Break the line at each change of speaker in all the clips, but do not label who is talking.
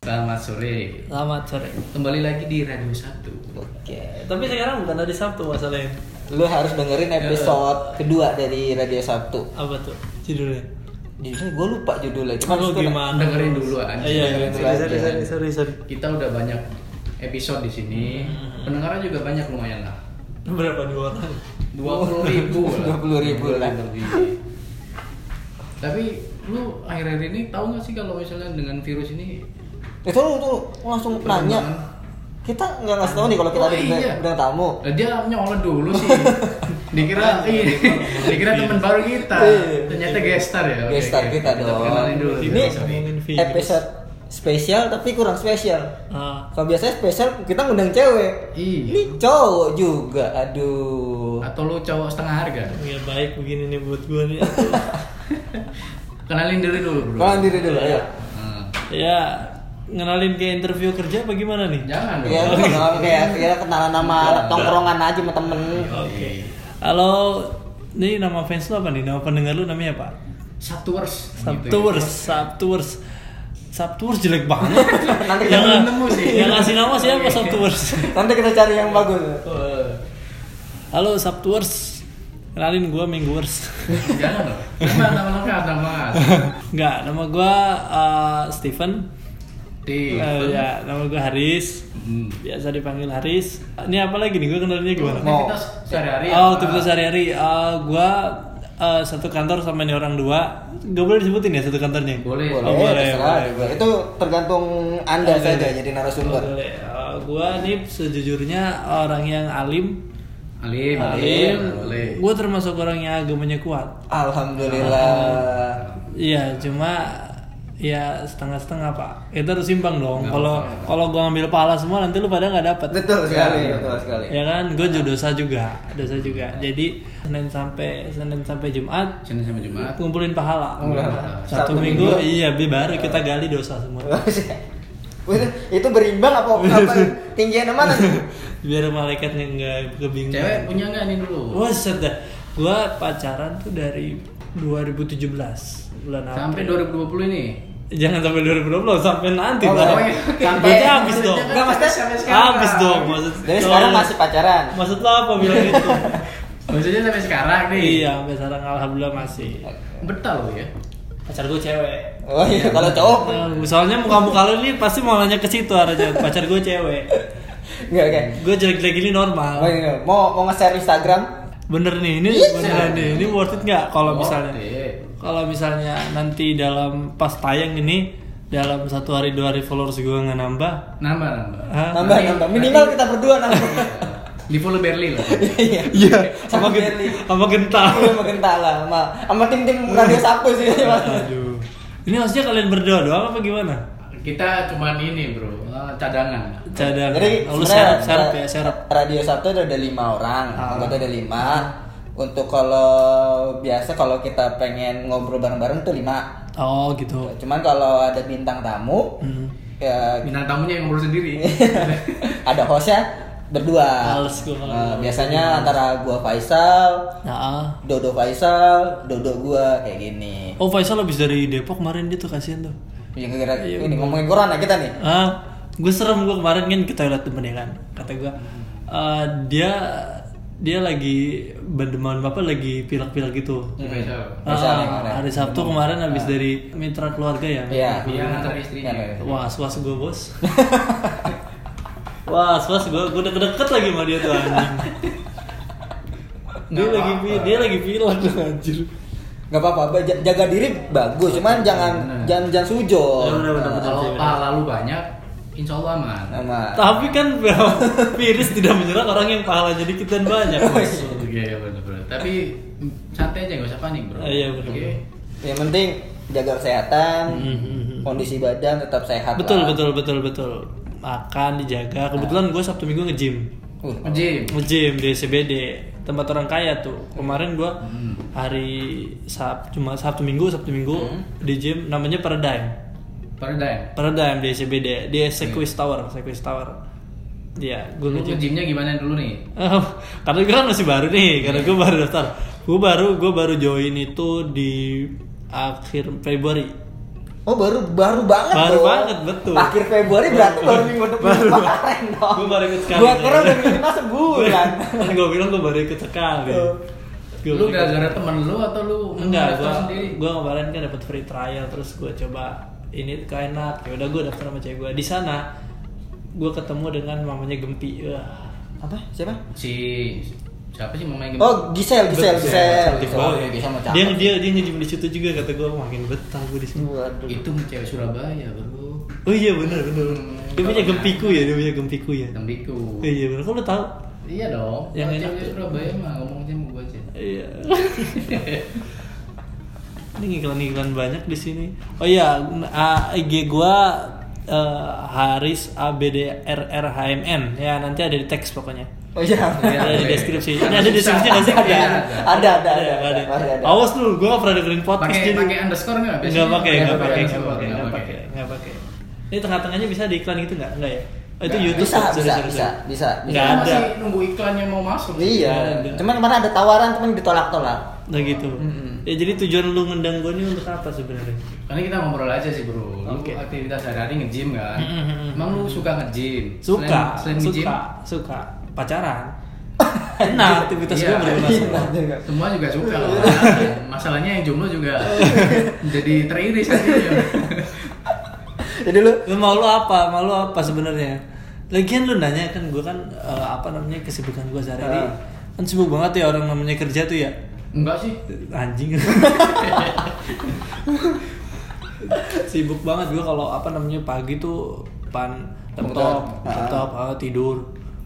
Selamat sore.
Selamat sore.
Kembali lagi di Radio Sabtu.
Oke.
Tapi sekarang bukan hari Sabtu masalahnya.
Lu harus dengerin episode kedua dari Radio Sabtu.
Apa tuh judulnya?
Judulnya gue lupa judulnya. Cuman
Kamu
itu na-
gimana?
dengerin dulu aja.
Iya, iya.
Dengerin dulu
sorry,
aja.
sorry, sorry, sorry, sorry.
Kita udah banyak episode di sini.
Mm-hmm.
Pendengaran juga banyak lumayan lah.
Berapa dua orang?
20 ribu lah.
20.000 lah.
Iya,
Lebih. Tapi lu akhir-akhir ini tahu nggak sih kalau misalnya dengan virus ini
Itu lu tuh langsung nanya. Kita nggak ngasih tahu nih kalau kita
Oh,
ada bintang
iya.
bintang tamu.
Eh, dia nyolot dulu sih.
Iya,
dikira ini, dikira teman baru kita.
Iya.
Ternyata gestar ya. Oke,
Gestar
oke.
kita dong.
perkenalin dulu.
Ini
Sorry.
ngomongin virus.
episode spesial tapi kurang spesial.
Ah,
Kalau biasanya spesial kita ngundang cewek.
Iya.
Ini cowok juga. Aduh.
Atau lu cowok setengah harga?
ya baik begini nih buat gue nih.
Kenalin diri dulu, Bro.
Kalian diri dulu ya.
Hmm.
ya ngenalin ke interview kerja apa gimana nih?
Jangan dong.
Ya, kenal kayak ya kenalan nama tongkrongan aja sama temen.
Oke.
Halo, ini nama fans lu apa nih? Nama pendengar lu namanya apa?
Gitu Sabtuers.
Sabtuers,
ya.
Sabtuers. Sabtuers jelek banget.
Nanti
Yang
Iya.
kita,
belum nemu sih. Iya.
Yang ngasih nama siapa Sabtuers?
nanti kita cari yang bagus.
Eh,
Halo Sabtuers. Kenalin gue Mingguers.
Jangan dong. Nama nama lengkap nama.
Enggak, nama gua eh, Steven.
Di.
Eh, ya, nama gua Haris. Biasa dipanggil Haris. Eh, Ini apa lagi nih? Gua kenalnya gimana?
Mau.
Aktivitas sehari-hari. ya?
Oh,
apa?
aktivitas sehari-hari. Eh, gua eh, satu kantor sama ini orang dua. Gak boleh disebutin ya satu kantornya.
Boleh.
Boleh,
Oh, boleh,
terserah
boleh,
juga. Itu tergantung Anda saja jadi
Oh,
narasumber.
boleh. Eh, gua nih sejujurnya orang yang alim.
Alim. Boleh.
Gua termasuk orang yang agamanya kuat.
Alhamdulillah.
Iya, cuma ya setengah-setengah pak. Kita harus imbang dong. Kalau kalau gua ngambil pahala semua nanti lu pada nggak dapet.
Betul sekali, Ya, betul sekali.
ya kan gue dosa juga dosa juga jadi senin sampai senin sampai jumat
Senin sampai Jumat.
ngumpulin pahala
Ngumpulin
satu,
Satu
minggu,
minggu.
iya bi- baru kita gali dosa semua
Ya. itu berimbang apa apa tinggian mana sih?
biar malaikatnya nggak kebingungan
Cewek punya nggak nih dulu?
wah dah gue pacaran tuh dari 2017 bulan
Sampai
April
2020 ini.
jangan sampai 2020 sampai nanti
Oh,
lah
oh iya. Sampai-
Berarti habis dong
Nggak, maksudnya-
sampai sekarang.
habis dong maksud Iya.
Jadi sekarang masih pacaran.
maksud lo apa bilang itu
Maksudnya sampai sekarang nih.
iya sampai sekarang alhamdulillah masih
Betah lo ya.
pacar gue cewek
Oh iya, kalau cowok
Nah, Soalnya muka-muka lu nih pasti mau nanya ke situ arahnya pacar gue cewek.
enggak enggak.
Gue jelek-jelek ini
Mau
normal.
ini, Mau mau nge-share Instagram?
Bener nih, ini
Iya,
beneran nih. Ini worth it nggak kalau
Oh,
misalnya? Kalau misalnya nanti dalam pas tayang ini dalam satu hari dua hari followers gue nggak nambah,
Nama nama.
Hah?
Nambah nambah. Minimal kita berdua nambah.
Di follow Berli lah.
Iya.
sama
Sama
gen-
Berli.
sama gental.
Iya, magenta lah sama sama tim-tim Radio Sabtu sih.
Aduh. Ini maksudnya kalian berdoa doang apa gimana?
Kita cuman ini bro, eh, cadangan.
Cadang.
Jadi
Lu
sebenarnya
serap, serap ya,
ra-
serap.
Radio Sabtu ada, ada lima orang,
Ah.
anggota ada lima. Untuk kalau biasa kalau kita pengen ngobrol bareng-bareng tuh lima.
Oh gitu.
Cuman kalau ada bintang tamu,
Hmm.
ya,
Bintang tamunya yang ngurus sendiri.
ada hostnya berdua.
Males gua kalau
Nah,
ngobrol.
biasanya antara gua Faisal,
Nah, ah.
Dodo Faisal, Dodo gua kayak gini.
oh Faisal habis dari Depok kemarin dia tuh kasihan tuh.
Yang kira ini ngomongin corona kita nih.
ah gue serem gue kemarin kan ke toilet temen ya kan kata gue eh, dia dia lagi bandeman bapak lagi pilek-pilek gitu
Besok.
Ah,
Iya, Faisal yang kemarin. Ah.
hari Sabtu kemarin habis dari mitra keluarga ya
Iya.
Dia ngantar istrinya.
Iya.
wah was gue bos wah was gue gue udah deket lagi sama dia tuh anjing dia
Nggak
lagi pi- dia lagi pilek tuh anjir
Gak apa-apa, ba- jaga diri bagus, cuman jangan jangan jangan sujon.
Bener, bener, bener.
Kalau pahala lu banyak, insya Allah aman.
Nah,
tapi kan virus tidak menyerang orang yang pahala jadi kita banyak bos
Oke, bener-bener. Tapi mm, santai aja, gak usah panik bro.
Ah, iya, bener.
Oke.
yang penting jaga kesehatan,
Mhm.
kondisi badan tetap sehat.
betul
lah.
betul betul betul makan dijaga kebetulan gue sabtu minggu nge-gym
Uh,
Jim.
nge-gym di SCBD tempat orang kaya tuh kemarin gue hari sab cuma sabtu minggu sabtu minggu di gym namanya Paradigm
Paradigm.
Hmm.
Paradigm di SCBD di Sequest Tower Sequest Tower Iya,
Lu
gue
nge-gymnya gimana dulu nih?
Em, karena gue kan masih baru nih, karena
Iya.
gue baru daftar. Gue baru gue baru join itu di akhir Februari.
Oh baru baru banget
Baru
dong.
banget, betul.
Akhir Februari berarti baru minggu depan kemarin dong.
Gua baru ikut sekali.
Gua kira udah minimal sebulan.
kan gue bilang gue baru ikut sekali. Gua
Tuh.
lu
baru ikut-
gara-gara temen lu atau lu
enggak
daftar
gue
sendiri?
gue kemarin kan dapat free trial terus gue coba ini kayak enak ya udah gue daftar sama cewek gue di sana gue ketemu dengan mamanya Gempi Wah.
Apa? Siapa?
Si siapa sih mamanya
Oh Gisel, Gisel,
Bet-
Gisel.
cantik banget.
Oh, iya, Gisel mau
dia
cakep.
dia dia ngejim di situ juga kata gue makin betah gue di sini
Waduh.
itu cewek Surabaya bro
oh iya benar benar dia punya gempiku ya dia punya gempiku ya
tembiku
Oh, iya benar kamu tahu
iya dong
Yang
yang
enak
cewek
tuh.
Surabaya mah ngomong sama gua aja
iya ini iklan-iklan banyak di sini oh iya A- IG gua eh, Haris ABDRRHMN ya nanti ada di teks pokoknya
Oh iya.
Iya.
ada di deskripsi ini ada di deskripsi nggak sih
Ada, ada, ada,
Ada, ada.
ada, ada.
awas lu gua nggak pernah dengerin podcast
pakai
jadi
pakai underscore nggak
Enggak pakai, enggak
Nggak
pakai, enggak
underscore,
pakai,
nggak
enggak pakai, enggak pakai. Ini tengah-tengahnya bisa di iklan gitu enggak? Enggak ya? Oh, itu
Nggak,
YouTube.
bisa,
sorry,
bisa,
sorry,
bisa,
sorry.
bisa, bisa.
Nggak
Kita
ada.
masih nunggu iklannya mau masuk
Iya.
Ada.
Cuman kemarin ada tawaran cuman ditolak-tolak.
Nah gitu.
Mm-mm.
Ya jadi tujuan lu ngundang gue ini untuk apa sebenarnya?
karena kita ngobrol aja sih bro lu
Oke.
aktivitas sehari-hari nge-gym kan
Mm-mm.
emang lu suka nge-gym
Suka,
selain, selain nge-gym
suka, suka pacaran. Nah, aktivitas gue
Iya.
bermasalah.
Iya.
semua juga suka lah. masalahnya yang jomblo juga jadi teriris aja
Jadi lu
Lu mau lu apa? Mau lu apa sebenarnya? Lagian lu nanya kan gue kan eh, apa namanya kesibukan gue sehari-hari.
Ah.
Kan sibuk banget ya orang namanya kerja tuh ya.
enggak sih
anjing sibuk banget gue kalau apa namanya pagi tuh pan laptop
Komputer. Ah.
laptop ah, tidur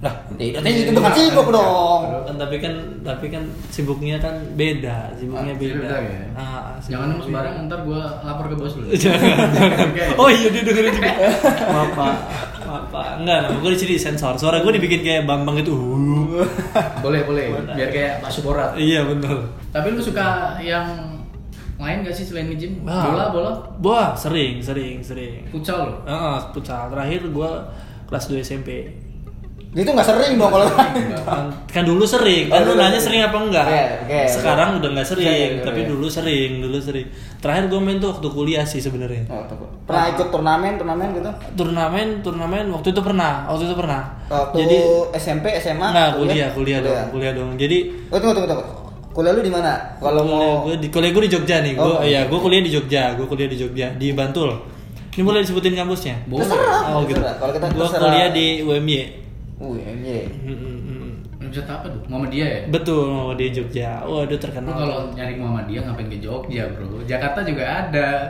lah, tidurnya itu bukan sibuk dong.
kan tapi kan tapi kan sibuknya kan beda sibuknya
Ah,
beda
beda ya?
Ah, sibuk
jangan nemu
beda.
sembarang ntar gua lapor ke bos lu
Jangan, jangan.
Oke.
oh iya dia dengerin juga maaf pak maaf pak enggak gue di sini sensor suara gue dibikin kayak bambang gitu Uh.
boleh boleh biar kayak Pak Suporat
iya bener
tapi lu suka yang lain gak sih selain nge-gym
Wah.
bola bola
wah Ah. sering sering sering
futsal lo
Heeh, futsal. Terakhir gua kelas 2 SMP.
Itu nggak sering dong kalau
Kan, kan dulu sering. Kan
Oh,
lu
dulu.
nanya sering apa enggak?
Oke, oke.
Sekarang udah nggak sering,
Oke, oke,
tapi
oke.
dulu sering, dulu sering. Terakhir gua main tuh waktu kuliah sih sebenarnya.
Oh, takut. Pernah ikut turnamen, turnamen gitu?
Turnamen, turnamen waktu itu pernah, waktu itu pernah.
Waktu ya?
Jadi
SMP, SMA?
enggak kuliah, kuliah, dong, kuliah dong. Jadi
Iya. Oh, tunggu, tunggu, tunggu. Kuliah lu di mana? Kalau
kuliah
mau
gua di kuliah gua di Jogja nih. Gua
Oh,
iya, gua kuliah di Jogja, gua kuliah di Jogja di Bantul. Ini boleh disebutin kampusnya?
boleh
Terserah.
gitu.
terserah. Kalau kita
Gua
terserah.
kuliah di UMY.
Wih, iya.
Mm, mm, mm.
Universitas apa tuh Muhammadiyah ya
Betul, mau di Jogja. Waduh
lu
terkenal.
kalau nyari Muhammadiyah ngapain ke Jogja bro Jakarta juga ada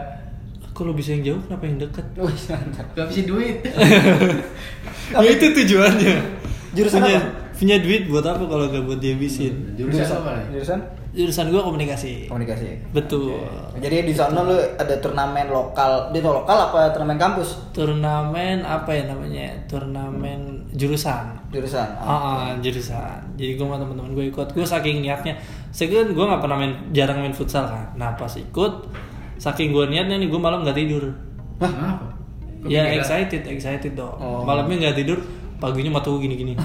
Kalau bisa yang jauh kenapa yang dekat?
Wih, mantap.
gak bisa duit
ya itu tujuannya.
Jurusan
punya,
apa?
Punya duit buat apa kalau gak buat dihabisin?
jurusan apa nih
Jurusan
Jurusan gua komunikasi.
komunikasi.
Betul.
Jadi di sana lu ada turnamen lokal, di lokal apa turnamen kampus?
Turnamen apa ya namanya? Turnamen jurusan.
Jurusan.
Ah, ah, jurusan. Jadi gue sama teman-teman gue ikut. Gue saking niatnya. Saya gue nggak pernah main, jarang main futsal kan. Nah pas ikut, saking gue niatnya nih gue malam nggak tidur.
kenapa Kepikiran.
Ya excited, excited dong.
Oh.
Malamnya nggak tidur, paginya mata gue gini-gini.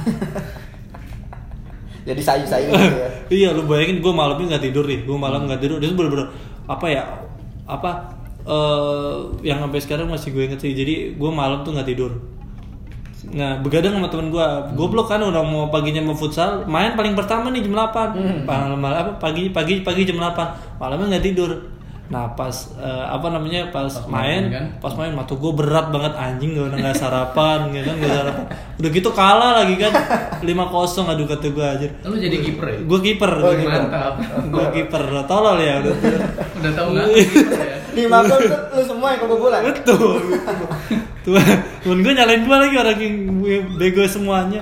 Jadi sayu-sayu gitu ya.
iya, lu bayangin gue malamnya nggak tidur nih, gue malam nggak tidur. Itu bener-bener apa ya? Apa eh yang sampai sekarang masih gue inget sih. Jadi gue malam tuh nggak tidur. Nah, begadang sama temen gue, goblok kan udah mau paginya mau futsal, main paling pertama nih jam 8 Malam, malam apa pagi pagi pagi jam 8 malamnya nggak tidur. Nah pas eh, apa namanya pas, main,
main kan?
pas main mata gue berat banget anjing gak nggak sarapan gitu kan nggak sarapan udah gitu kalah lagi kan 5-0 aduh kata gue aja
lu jadi kiper ya
gue kiper
Oh,
gue kiper
mantap
gue kiper tolol ya udah
udah tau nggak kiper ya?
Di Magelang tuh lu semua yang kebobolan.
betul tuh temen gue nyalain gue lagi orang yang bego semuanya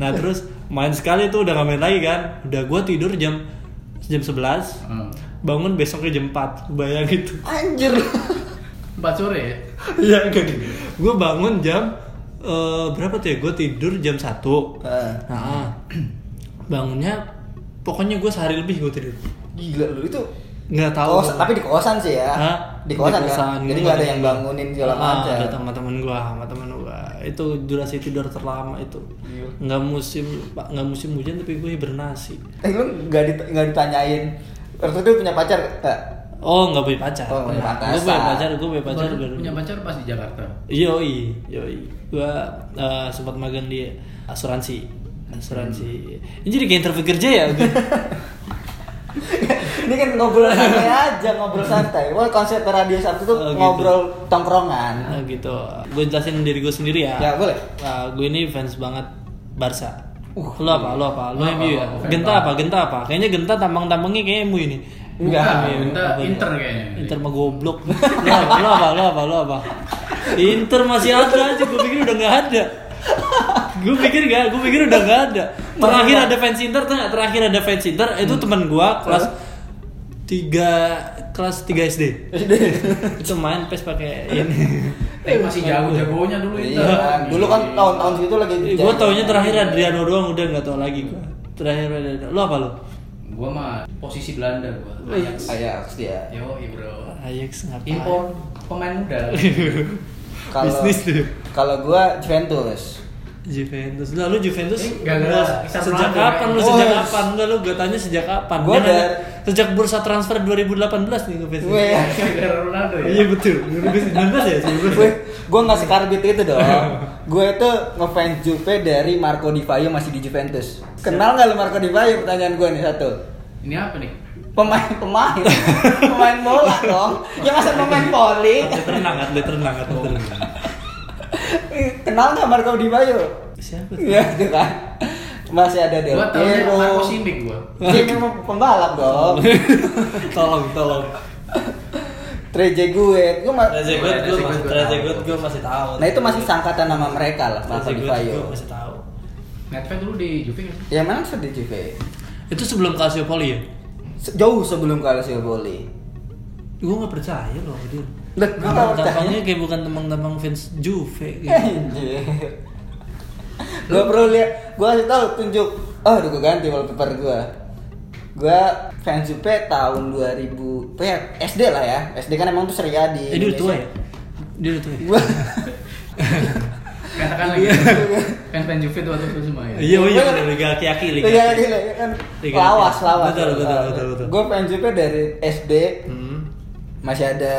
nah terus main sekali tuh udah gak main lagi kan udah gue tidur jam jam 11
Hmm.
bangun besoknya jam 4 bayang gitu
Anjir.
empat sore ya
Iya enggak Gue bangun jam eh, berapa tuh ya? Gue tidur jam 1
Ah,
Nah, bangunnya pokoknya gue sehari lebih gue tidur.
Gila lu itu
Nggak tahu.
Kos, tapi di kosan sih ya.
Hah?
Di kosan, kan. Jadi
gua
nggak ada
ada-
yang bangunin segala
Ah,
macam.
ada sama temen gue, sama temen gue. itu durasi tidur terlama itu
Iya.
nggak musim nggak musim hujan tapi gue hibernasi
Eh lu nggak dit- nggak ditanyain. Waktu itu punya pacar eh, nggak?
oh nggak punya pacar
Oh, nggak punya pacar.
gue punya pacar gue punya pacar
Baru
baru-
punya pacar pas di Jakarta.
Yoi, yoi. Gua eh, sempat magang di asuransi. Asuransi. Ini jadi kayak interview kerja ya? Gue.
Ini kan ngobrol santai aja, ngobrol santai. Wah konsep radio Sabtu tuh
Oh, gitu.
ngobrol tongkrongan.
Nah, gitu. Gue jelasin diri gue sendiri ya.
Ya boleh.
Nah, gue ini fans banget Barca.
Uh,
lo apa? Lo apa? Lo
Apa,
MU ya?
apa, apa,
Genta
apa.
apa? Genta apa? Kayaknya Genta tampang-tampangnya kayak MU ini.
Enggak,
MU,
Genta
apa ya?
Inter kayaknya.
Inter mah goblok. lo apa? Lo apa? Lo apa? Lo apa? Inter masih ada aja. Gue pikir udah nggak ada. gue pikir gak, gue pikir udah nggak ada. Terakhir ada fans Inter, tau nggak? terakhir ada fans Inter itu
Hmm.
teman gue kelas tiga kelas 3 SD. itu main pes pakai ini.
Eh masih
Iya.
jago-jagonya dulu Inter.
Iya. Dulu kan tahun-tahun situ lagi. kan.
gue Iya, taunya terakhir Adriano doang udah nggak tau lagi gue terakhir Adriano lo apa lo
Gua mah posisi Belanda gua.
Oh,
Wih.
iya.
Ajax.
Ajax Ah, dia.
Ya.
Yo, iya, bro.
Ajax Iya. ngapain
Impor pemain muda.
Kalau
Bisnis tuh.
kalau gua Juventus.
Juventus lah lu Juventus
Eh, nggak, nggak.
Lu-
Kisah
sejak
Ronaldo, eh.
kapan lu
kan?
sejak
Oh,
kapan enggak lu gak tanya sejak kapan
Gua
Jangan-
dari-
sejak bursa transfer 2018 nih Juventus
Gue
Gara-gara Ronaldo ya.
iya betul 2019 ya
gue gue nggak sekarbit itu dong. gue itu ngefans Juve dari Marco Di Vaio masih di Juventus. Kenal nggak lu Marco Di Vaio? Pertanyaan gue nih satu.
Ini apa nih?
Pemain pemain pemain bola dong. Ya masa pemain volley?
atlet renang atlet renang atlet renang
Kenal nggak Marco Di Vaio?
siapa tuh?
Iya itu kan. Masih ada Del
Gua tahunya
Piero.
Marco Simic gua.
Dia memang pembalap dong.
tolong tolong
Trezeguet. Gue ma-
Trezeguet gue masih
Trezeguet.
Trezeguet gue masih tahu
Nah itu masih sangkatan nama mereka lah, Marco Di
Trezeguet gue
Vaio.
masih tahu
Nedved dulu di Juve kan?
Ya memang sedih Juve.
itu sebelum Calciopoli ya
Se- Jauh sebelum Calcio Boli.
gue nggak percaya loh dia
Lah, gua nggak percaya. Eh,
tampangnya kayak bukan teman-teman fans Juve gitu.
Anjir. gua perlu lihat, gua kasih tahu tunjuk. Oh, udah gua ganti wallpaper gua. Gua fans Juve tahun 2000, ya, SD lah ya. SD kan emang tuh Serie A di.
eh dia udah tua
Indonesia.
ya dia udah tua ya?
Iya. Gua
Katakan lagi. Fans-fans Juve tuh atau semua ya.
iya oh iya bener, liga aki-aki liga
Iya,
aki.
gila, ya kan.
Liga.
Lawas, lawas.
Betul, betul, betul, betul.
Gua fans Juve dari SD
hmm.
masih ada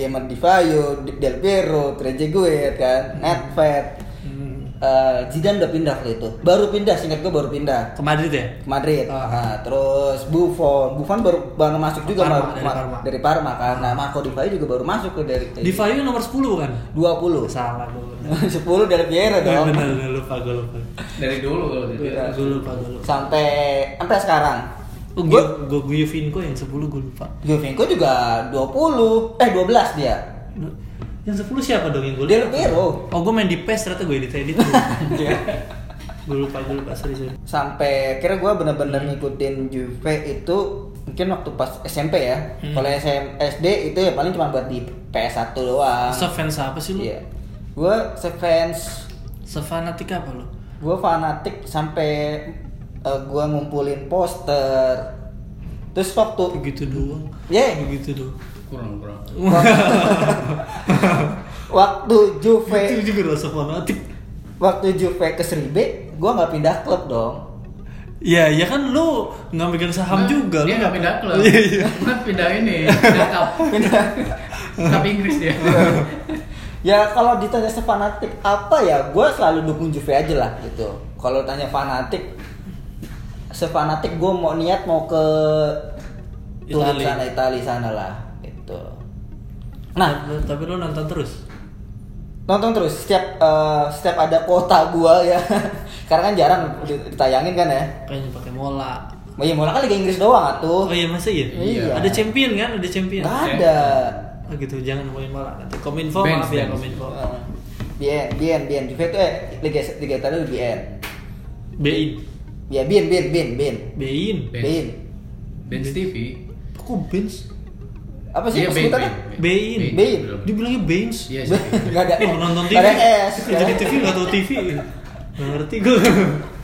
Emer Di Vaio, Del Piero, Trezeguet kan, Nedved.
Hmm.
Eh, Zidane udah pindah waktu itu. Baru pindah, singkat gue baru pindah
ke Madrid ya
ke Madrid.
Ah.
Nah, terus Buffon, Buffon baru baru masuk juga
Parma,
Mar-
dari
Mar-
Parma.
dari Parma kan. Nah, Marco Di Vaio juga baru masuk tuh dari
di Vayu nomor 10 kan
20.
salah gue
10 dari Piero
bener
Iya, dong.
bener lupa gue lupa
Dari dulu kalau gitu.
Iya.
gue lupa gue lupa
Sampai sampai sekarang.
oh gue gue Guyovinko yang 10 gue lupa
Giovinco juga 20, eh 12 dia.
yang 10 siapa dong yang gue
Del Piero.
oh gue main di PES ternyata gue edit edit gue lupa gue lupa sorry sorry
sampai kira gue bener-bener ngikutin Juve itu mungkin waktu pas SMP ya
Hmm.
kalau SM, SD itu ya paling cuma buat di PS1 doang
so fans apa sih lu
Ah. iya gue fans
sefanatik apa lu
gue fanatik sampai gue ngumpulin poster terus waktu
begitu doang Eh,
ya
begitu doang
Kurang-kurang.
waktu
itu
Juve
juga rasa fanatik
waktu Juve ke Seribe gue nggak pindah klub dong
ya ya kan lu nggak megang saham
Nah,
juga
Dia
lu
nggak pindah klub.
Iya, iya.
Cuman pindah ini, pindah cup. Pindah cup Inggris dia.
Iya.
Ya kalau ditanya sefanatik apa ya, gue selalu dukung Juve aja lah gitu. Kalau tanya fanatik, sefanatik gue mau niat mau ke Turun
Itali.
sana Itali sana lah gitu. Nah
Tapi- tapi lu nonton terus
nonton terus setiap eh, setiap ada kota gue ya, karena kan jarang ditayangin kan ya.
kayaknya pakai mola
Oh iya, malah kan Liga Inggris doang
oh
atuh.
iya masa iya
Iya. Nah.
ada champion kan ada champion
Nggak ada.
oh, gitu jangan ngomongin mola nanti kominfo
Benz,
maaf ya
Benz.
kominfo
Eh, Bien, bien, bien. Juve itu eh Liga Liga Itali itu bien.
bein
Ya bien, bien, bien, bien.
bein
Benz.
Bien.
Ben Stevie.
kok benz
Apa sih
Iya, Ben,
sebutannya?
Ben,
bein
Ben.
Bein.
Belum.
dibilangnya beins
Iya sih.
Gak ada.
Lu nonton TV
Gak ada S.
Lu kerja di TV nggak tau TV nggak ngerti gue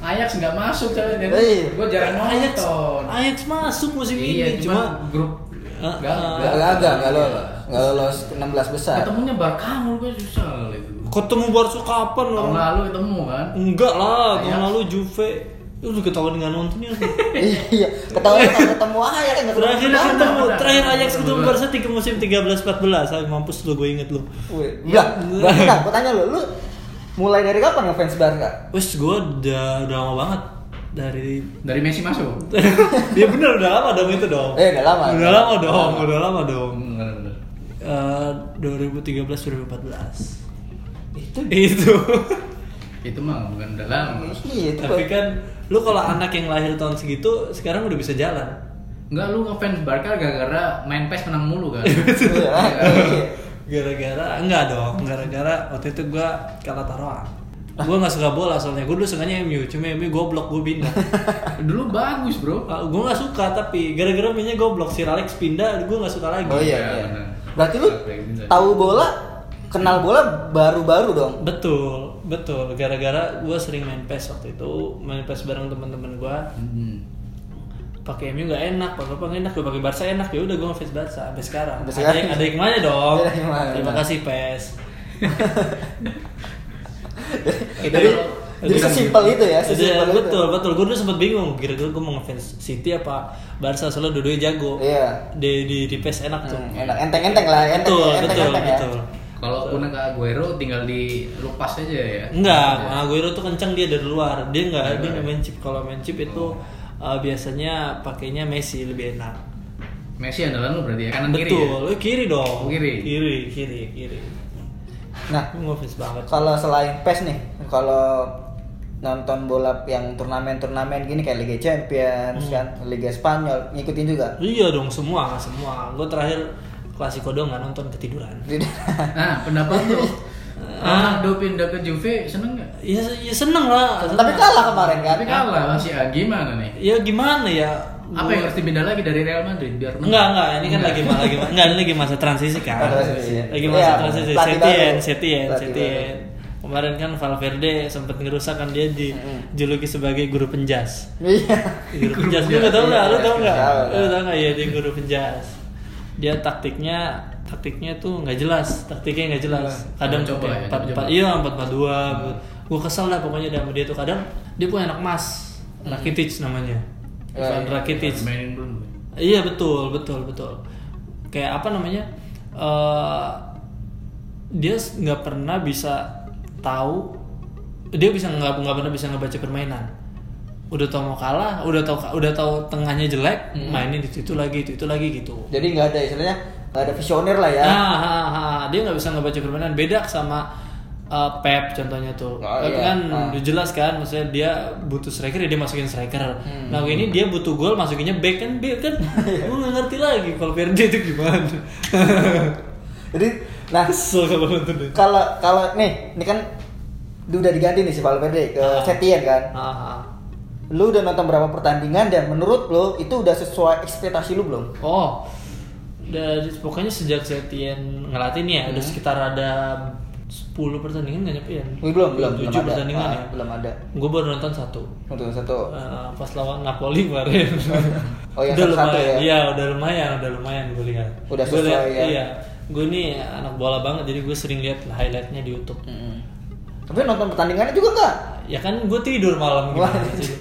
Ajax nggak masuk soalnya.
Iya.
Gue jarang
Ajax
nonton.
Ajax masuk musim
Iya,
ini
cuma
cuma
grup
Ah,
gak
ah.
Gak- gak- gak lolos. nggak lolos ke 16 besar
ketemunya Barkamul gue susah kali itu
Ketemu Barca kapan lo?
tahun lalu ketemu kan
Enggak lah, tahun
Ajax.
lalu Juve. Lu udah ketahuan nggak nonton ya?
iya ketahuan nggak ketemu aja kan nggak
Terakhir
ketemu
ketemu, terakhir Ajax ketemu
Bener.
Barca tiga musim 13-14 Ay, mampus lu, gue inget lu
Wih, Lah, berarti nah, aku tanya lu, lu mulai dari kapan ngefans Barca?
Wes, gue udah, udah lama banget Dari
dari Messi masuk
Ya bener, udah lama dong itu dong
Eh, udah lama.
Udah lama dong, udah lama dong
bener-bener
Eh, 2013-2014 Itu Itu
itu mah bukan udah lama
Iya, itu
Tapi kan, lu kalau anak yang lahir tahun segitu Sekarang udah bisa jalan
Enggak lu ngefans Barca gara-gara main PES menang mulu kan.
Iya, iya.
gara-gara enggak dong gara-gara waktu itu gua kalah taruhan gua nggak suka bola soalnya gua dulu sukanya MU cuma MU goblok gua pindah
Dulu bagus, Bro.
Ah, gua nggak suka tapi gara-gara mainnya goblok si Alex pindah gua nggak suka lagi
Oh iya,
Iya,
iya.
benar.
Berarti lu tahu bola, kenal bola baru-baru dong.
betul betul gara-gara gua sering main PES waktu itu main PES bareng teman-teman gua
Hmm.
pakai MU nggak enak pakai apa nggak enak gue pakai Barca enak ya udah gue ngefans Barca sampai sekarang
Sampai
ada
sekarang.
yang ada yang mana dong
Ada yang mana.
terima kasih PES Itu-
Jadi-
itu-
jadi sesimpel itu ya, sesimpel
kan Iya,
itu.
betul betul gue dulu sempat bingung kira-kira gue mau ngefans City apa Barca soalnya dua-duanya jago
Iya.
di di, di PES enak tuh
Hmm, enak enteng-enteng lah, ya. enteng
betul
enteng,
betul
enteng,
betul
Kalau Una ke Aguero tinggal dilupas aja ya.
Enggak, Aguero tuh kencang dia dari luar. Dia enggak dia nggak main chip. Kalau main chip itu eh, biasanya pakainya Messi lebih enak.
Messi andalan lu berarti ya kanan kiri.
Betul, Eh, kiri
Oh,
dong.
kiri.
Kiri, kiri, kiri.
Nah,
Gue ngefans banget.
kalau selain PES nih, kalau nonton bola yang turnamen-turnamen gini kayak Liga Champions
Hmm.
kan, Liga Spanyol, ngikutin juga.
Iya dong, semua, semua. Gue terakhir Klasiko dong nggak nonton ketiduran.
ya. Nah, pendapat lu Ronaldo pindah ke Juve seneng nggak?
Ya, ya seneng lah. seneng.
Tapi kalah kemarin kan.
Tapi kalah masih ah, gimana nih?
Ya gimana ya?
Apa yang harus dipindah lagi dari Real Madrid biar menang?
Enggak, enggak, ini kan lagi lagi enggak, ini lagi masa transisi kan.
Oh, transisi.
Lagi masa
Iya,
transisi.
pelatih
Setien,
baru.
Setien,
Pelatih
Setien. Kemarin kan Valverde sempat ngerusak kan dia dijuluki sebagai guru penjas.
Iya.
Guru penjas lu nggak tahu
penjas,
nggak? Lu
iya,
tahu nggak?
tahu,
Lu
tahu.
tahu nggak? Iya dia guru penjas. Dia taktiknya taktiknya tuh nggak jelas, taktiknya nggak jelas.
Nggak.
Kadang
Coba ya,
pakai empat
coba-coba.
empat, iya empat empat dua. Gue kesel lah pokoknya dia sama dia tuh kadang dia punya anak mas, Rakitic namanya,
Ya,
iya.
Ivan Rakitic.
Mainin belum.
Iya betul betul betul. Kayak apa namanya? eh, dia s- nggak pernah bisa tahu. Dia bisa nggak nggak pernah bisa ngebaca permainan. Udah tau mau kalah, udah tau udah tau tengahnya jelek, mainin itu itu lagi itu itu lagi gitu.
Jadi nggak ada istilahnya, nggak ada visioner lah ya.
Ah.
Nah, ha, ha. dia nggak bisa ngebaca permainan. Beda sama eh, Pep contohnya tuh.
Oh,
Pep
iya.
kan
Ah.
udah jelas kan, maksudnya dia butuh striker ya dia masukin striker.
Hmm.
Nah ini dia butuh gol masukinnya back kan, dia kan
Iya.
gue nggak ngerti lagi kalau Verde itu gimana.
Jadi, nah
Kesel kalau nonton itu.
kalau kalau nih, ini kan lu udah diganti nih si Valverde ke
Ah.
Setien kan.
Ah, ah.
Lu udah nonton berapa pertandingan dan menurut lu itu udah sesuai ekspektasi lu belum?
Oh, dari pokoknya sejak Setien ngelatih nih ya,
Hmm.
udah sekitar ada 10 pertandingan nggak nyampe ya?
Wih, belum, belum, belum
7
ada.
pertandingan
Ah,
ya?
belum ada.
Gue baru nonton satu.
Untuk satu.
Eh, pas lawan Napoli kemarin.
Oh, yang
udah
satu-satu
lumayan.
ya?
Iya, udah lumayan, udah lumayan gue lihat.
Udah
Gua
sesuai
lihat-
ya?
Iya. Gue nih anak bola banget jadi gue sering lihat highlightnya di YouTube.
Ah.
Mm-mm. Tapi nonton pertandingannya juga nggak?
Ya kan gue tidur malam
Wah.
gimana sih?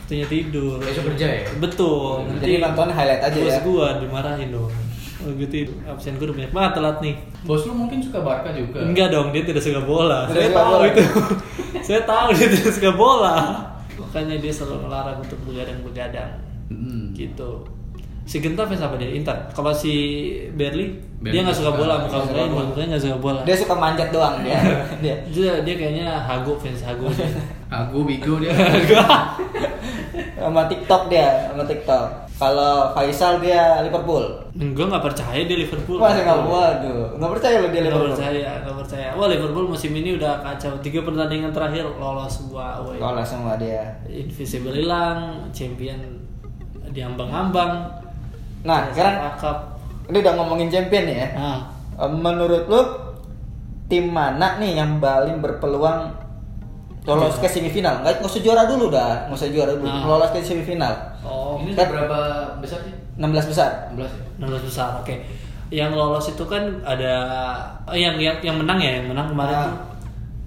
Waktunya tidur.
Besok kerja ya?
Betul.
Jadi nonton highlight aja
bos
ya.
gue dimarahin dong. Oh, gue tidur. Absen gue udah banyak banget telat nih.
Bos lu mungkin suka Barca juga.
Enggak dong, dia tidak suka bola. Saya
Tidak suka
tahu
bola.
itu. Saya tahu dia tidak suka bola. Makanya dia selalu melarang untuk begadang-begadang.
Hmm.
gitu si Genta fans apa dia Inter kalau si Berli
Berli
dia nggak suka
suka.
bola
Nggak
muka
suka
mukanya
bola.
mukanya nggak suka bola
Dia suka manjat doang dia. dia.
dia dia kayaknya hago fans hago dia
Aku bigo dia.
Sama TikTok dia, sama TikTok. Kalau Faisal dia Liverpool.
gue nggak percaya dia Liverpool
Wah, saya nggak waduh, nggak percaya lo dia
Nggak
Liverpool.
percaya nggak percaya wah Liverpool musim ini udah kacau tiga pertandingan terakhir lolos gua away
Kalah semua dia.
invisible hilang champion diambang-ambang
Nah, sekarang
kakap
ini udah ngomongin champion nih ya.
ah
Eh, Menurut lu tim mana nih yang paling berpeluang lolos ke semifinal? Nggak nggak usah juara dulu dah, nggak usah juara dulu,
Nah.
lolos ke semifinal.
oh
Ini berapa besar sih?
16 besar.
16 ya?
16 besar oke yang lolos itu kan ada eh, yang yang yang menang ya yang menang kemarin
Ah.
tuh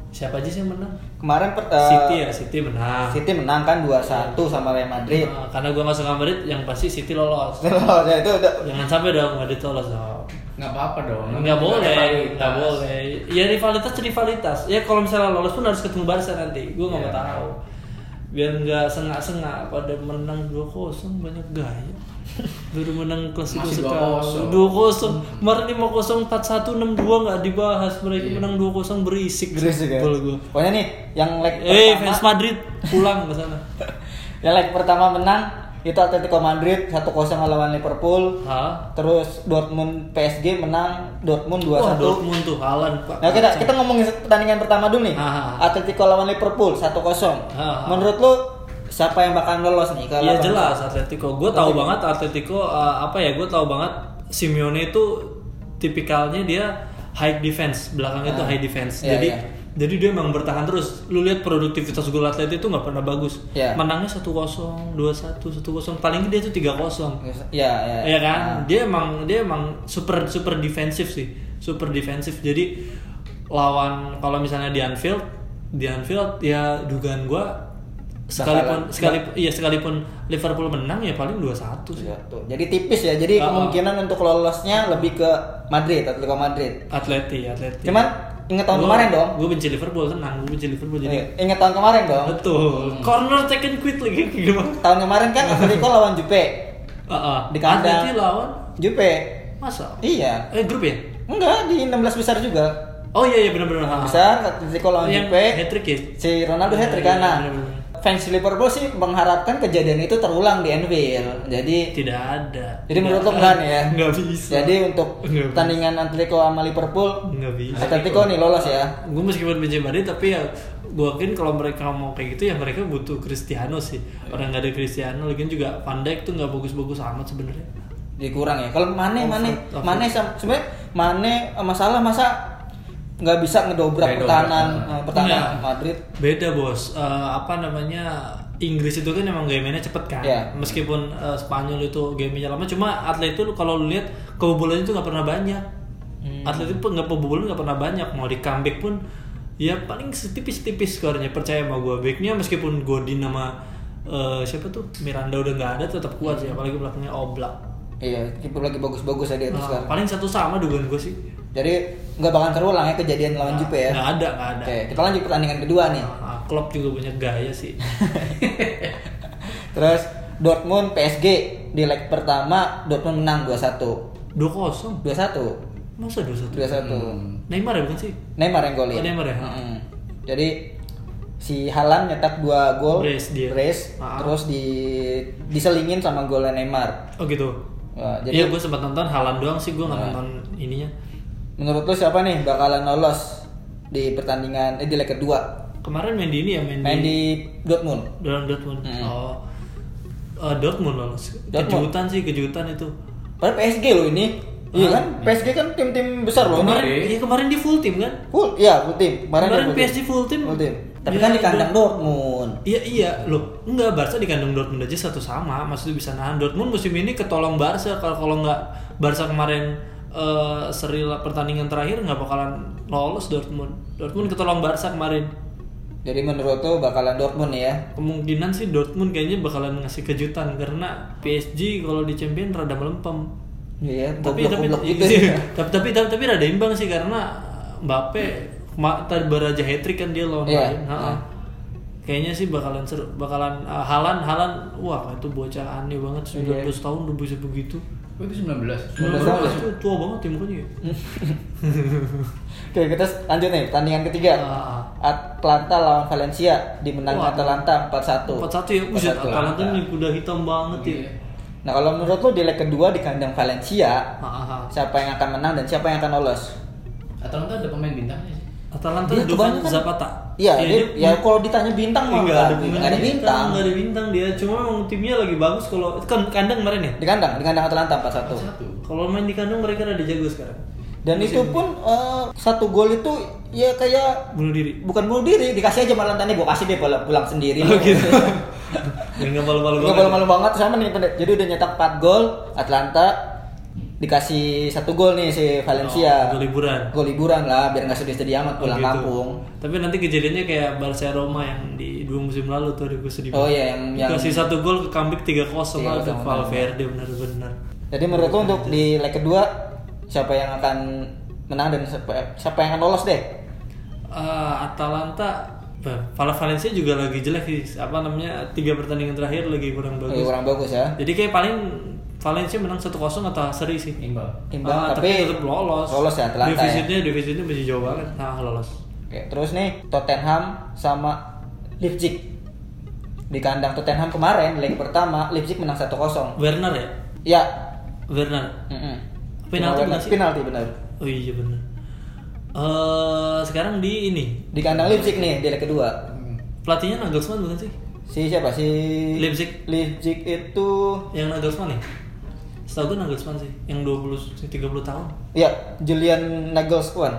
siapa aja sih yang menang
Kemarin per, eh,
City ya City menang
City menang kan 2-1 sama Real Madrid.
Nah, karena gue masuk ke Madrid yang pasti City lolos Ah.
ya itu udah
jangan sampai dong Madrid lolos dong
nggak apa-apa dong
nggak boleh
Rivalitas.
nggak boleh ya rivalitas rivalitas ya kalau misalnya lolos pun harus ketemu Barca nanti gue nggak
Iya.
mau tahu biar nggak sengak-sengak pada menang 2-0 banyak gaya baru menang klasiko
Masih Hmm.
sekali
2-0.
2-0 kemarin 5-0 4-1 6-2 nggak dibahas mereka
Iya.
menang 2-0 berisik
Gresik ya.
Gol gua.
Pokoknya nih yang leg
eh
pertama,
fans Madrid pulang ke sana
yang leg pertama menang itu Atletico Madrid 1-0 lawan Liverpool.
Hah?
Terus Dortmund PSG menang Dortmund 2-1.
Wah Dortmund tuh Haaland pak
Ya,
Nah, kita kita ngomongin pertandingan pertama dulu nih.
Ah.
Atletico lawan Liverpool 1-0.
Ah.
Menurut lu siapa yang bakalan lolos nih kalau
Iya jelas Atletico. Gue tahu banget Atletico uh, apa ya? Gue tahu banget Simeone itu tipikalnya dia high defense belakangnya itu
Ah.
high defense.
Iya,
jadi
iya.
jadi dia emang bertahan terus. Lu lihat produktivitas gol Atletico itu nggak pernah bagus.
Iya.
Menangnya 1-0, 2-1, 1-0. Paling dia itu 3-0.
Ya, ya.
Iya kan?
Ah.
Dia emang dia emang super super defensif sih. Super defensif. Jadi lawan kalau misalnya di Anfield, di Anfield ya dugaan gua sekalipun
Bakalan-
sekalipun iya sekalipun Liverpool menang ya paling 2-1 sih.
Ya, tuh. Jadi tipis ya. Jadi
Ah.
kemungkinan untuk lolosnya lebih ke Madrid, Atletico Madrid.
Atleti, Atleti.
Cuman inget tahun kemarin dong.
Gue benci Liverpool, tenang, gue benci Liverpool jadi.
Iya, Hmm. Inget tahun kemarin dong.
Betul. Corner taken quick lagi kayak gimana?
Tahun kemarin kan Atletico lawan Jupe.
Heeh.
Di kandang.
Atleti lawan
Jupe.
masa?
Iya.
Eh grup ya?
Enggak di 16 besar juga.
Oh iya iya benar-benar. ha, ha.
Besar Atletico lawan
Yang
Jupe.
hat-trick ya?
Si Ronaldo
Iya,
hat-trick
iya,
kan. Nah,
bener-bener.
Fans Liverpool sih mengharapkan kejadian itu terulang di Anfield. Jadi
Tidak ada.
jadi menurut lo
Tidak
enggak
ada.
nih ya?
Nggak bisa.
Jadi untuk
Nggak bisa.
pertandingan Atletico sama Liverpool,
nggak bisa.
Atletico nih lolos ya.
Gue meskipun benci Madrid tapi ya gue yakin kalau mereka mau kayak gitu ya mereka butuh Cristiano sih. Orang nggak ada Cristiano, lagian juga Van Dijk tuh nggak bagus-bagus amat sebenarnya.
dikurang ya kalau Mane Mane
Over- over.
Mane sam- sebenarnya Mane eh, masalah masa nggak bisa ngedobrak
Nggak
pertahanan
dobrak.
eh, pertahanan
Nggak.
Madrid
Beda bos. Eh, apa namanya? Inggris itu kan emang gamenya cepet kan.
Iya.
Meskipun eh, Spanyol itu gamenya lama, cuma atlet itu kalau lu lihat kebobolannya itu nggak pernah banyak.
Hmm.
Atlet itu nggak kebobolan nggak pernah banyak. Mau di comeback pun ya paling setipis-tipis skornya percaya sama gue backnya meskipun Godin sama eh, siapa tuh Miranda udah nggak ada tetap kuat
Hmm.
sih apalagi belakangnya Oblak
iya kiper lagi bagus-bagus ya di
Nah,
atas sekarang
paling satu sama dugaan gue sih
jadi nggak bakal terulang ya kejadian
Nah,
lawan Jupe ya
nggak ada nggak ada
oke kita lanjut pertandingan kedua nih
Nah, Klopp juga banyak gaya sih
terus Dortmund PSG di leg pertama Dortmund menang 2-1
dua kosong
2-1
masa dua satu
2-1
Neymar ya bukan sih
Neymar yang golin
Oh, Neymar ya?
Mm-mm. jadi si Halan nyetak dua gol
Brace dia.
brace,
Ah.
terus di diselingin sama golnya Neymar
oh gitu
Wah,
Iya
jadi
gue sempat nonton Halan doang sih gue nggak
Nah.
nonton ininya
menurut lu siapa nih bakalan lolos di pertandingan eh di leg kedua?
kemarin main di ini ya main,
Main
di,
di Dortmund.
dalam Dortmund
Hmm.
oh Eh, Dortmund lolos
Dortmund.
kejutan sih kejutan itu
Padahal PSG loh ini. Iya kan? PSG kan tim-tim besar
Ah,
loh.
kemarin
Kemarin.
iya kemarin di full team kan
Full, iya full tim. Kemarin,
Kemarin
dia
PSG full tim.
Full tim. Tapi
Ya,
kan di
itu.
kandang Dortmund.
Iya iya loh enggak Barca di kandang Dortmund aja satu sama maksudnya bisa nahan Dortmund musim ini ketolong Barca kalau kalau nggak Barca kemarin eh seri la- pertandingan terakhir nggak bakalan lolos Dortmund Dortmund ketolong Barca kemarin
Jadi menurut tuh bakalan Dortmund nih ya.
kemungkinan sih Dortmund kayaknya bakalan ngasih kejutan karena PSG kalau di Champion rada melempem
Iya,
tapi tapi,
goblok-goblok gitu.
iya, tapi tapi tapi tapi rada imbang sih karena Mbappe ma- tadi baru aja hat trick kan dia lawan
Iya.
lain. Ha-ha.
Iya.
Kayaknya sih bakalan seru, bakalan uh, Halan Halan wah itu bocah aneh banget 19 tahun udah bisa begitu.
Oh, itu 19
19
19 Iya.
tahun
tahun ya? Iya.
itu tua banget ya mukanya. ya.
Oke, kita lanjut nih pertandingan ketiga.
Ah.
Atlanta lawan Valencia dimenang
Wah.
Atalanta 4-1.
4-1 ya, buset
4-1.
Atalanta nih kuda hitam banget ya.
Iya.
Nah, kalau menurut lu di leg kedua di kandang Valencia,
Ha-ha.
siapa yang akan menang dan siapa yang akan lolos?
Atalanta ada pemain bintangnya sih
Atalanta
Dia
Dufan
kebanyakan-
Zapata.
Iya,
Ya,
dia,
dia-
ya kalau ditanya bintang mah
Enggak Iya, ada,
nggak ada bintang.
Enggak ada bintang dia. Cuma emang timnya lagi bagus kalau kan kandang kemarin ya.
Di kandang, di kandang Atalanta 4-1.
satu
Kalau main di kandang mereka ada jago sekarang.
Dan itu pun eh, satu gol itu ya kayak
Bunuh diri.
bukan bunuh diri, dikasih aja malam tadi gue kasih dia pulang, pulang sendiri. Iya.
Oh gitu. Dan enggak malu-malu
Nggak
banget.
malu-malu banget sama nih pendek. Jadi udah nyetak 4 gol Atlanta dikasih satu gol nih si Valencia.
Oh, gol liburan.
Gol liburan lah biar nggak sedih-sedih amat
Oh,
pulang
gitu.
kampung.
Tapi nanti kejadiannya kayak Barca Roma yang di dua musim lalu tuh aduh gue sedih.
Oh,
banget.
iya, yang- yang-
dikasih satu gol ke comeback 3-0 lah
3-0,
untuk Valverde benar-benar.
Jadi menurut lo untuk di leg kedua siapa yang akan menang dan siapa, siapa yang akan lolos deh?
Eh, Atalanta bah, Val- Valencia juga lagi jelek sih. Apa namanya? Tiga pertandingan terakhir lagi kurang
Lebih
bagus.
kurang bagus ya.
Jadi kayak paling Valencia menang 1-0 atau seri sih.
imbal
Imbang,
Ah,
tapi
tetap lolos.
lolos ya Atalanta ya.
Divisitnya divisitnya masih jauh banget. Nah, lolos.
Oke, terus nih Tottenham sama Leipzig. Di kandang Tottenham kemarin leg pertama Leipzig menang 1-0.
Werner ya?
Ya.
Werner.
mm-mm.
Penalti
Penalti,
bukan sih?
penalti benar.
Oh iya benar. Eh sekarang di ini
Di kandang Leipzig nih di leg kedua.
Hmm.
pelatihnya Nagelsmann bukan sih?
Si siapa? Si
Leipzig.
Leipzig itu
Yang Nagelsmann ya? Setahu gue Nagelsmann sih, yang 20 30 tahun.
ya Julian Nagelsmann.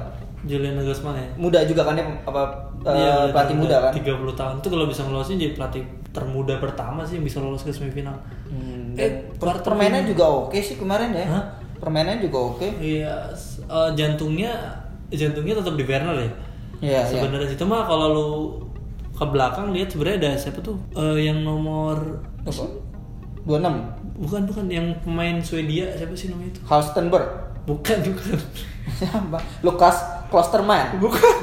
Julian Nagelsmann ya.
Muda juga kan dia apa eh,
Iya,
pelatih muda kan?
30 tahun itu kalau bisa ngelolosin jadi pelatih termuda pertama sih yang bisa lolos ke semifinal.
Hmm,
Eh,
dan per-
quarter
permainan
final.
juga oke sih kemarin ya.
Hah?
Permainan juga oke.
Iya, s- eh, jantungnya jantungnya tetap di Werner ya.
Iya, iya.
Sebenarnya sih cuma kalau lu ke belakang lihat sebenarnya ada siapa tuh Eh, yang nomor
Apa? 26
bukan bukan yang pemain Swedia siapa sih namanya itu?
Halstenberg.
Bukan bukan.
Siapa? Iya, Lukas Klosterman.
Bukan.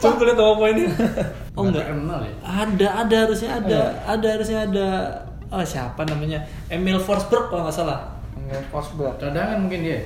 Coba gue lihat nama pemainnya.
Nggak
Oh enggak.
terkenal ya
Ada ada harusnya ada.
Iya.
Ada harusnya ada. Ah, siapa namanya? Emil Forsberg kalau nggak salah.
Forsberg.
cadangan mungkin dia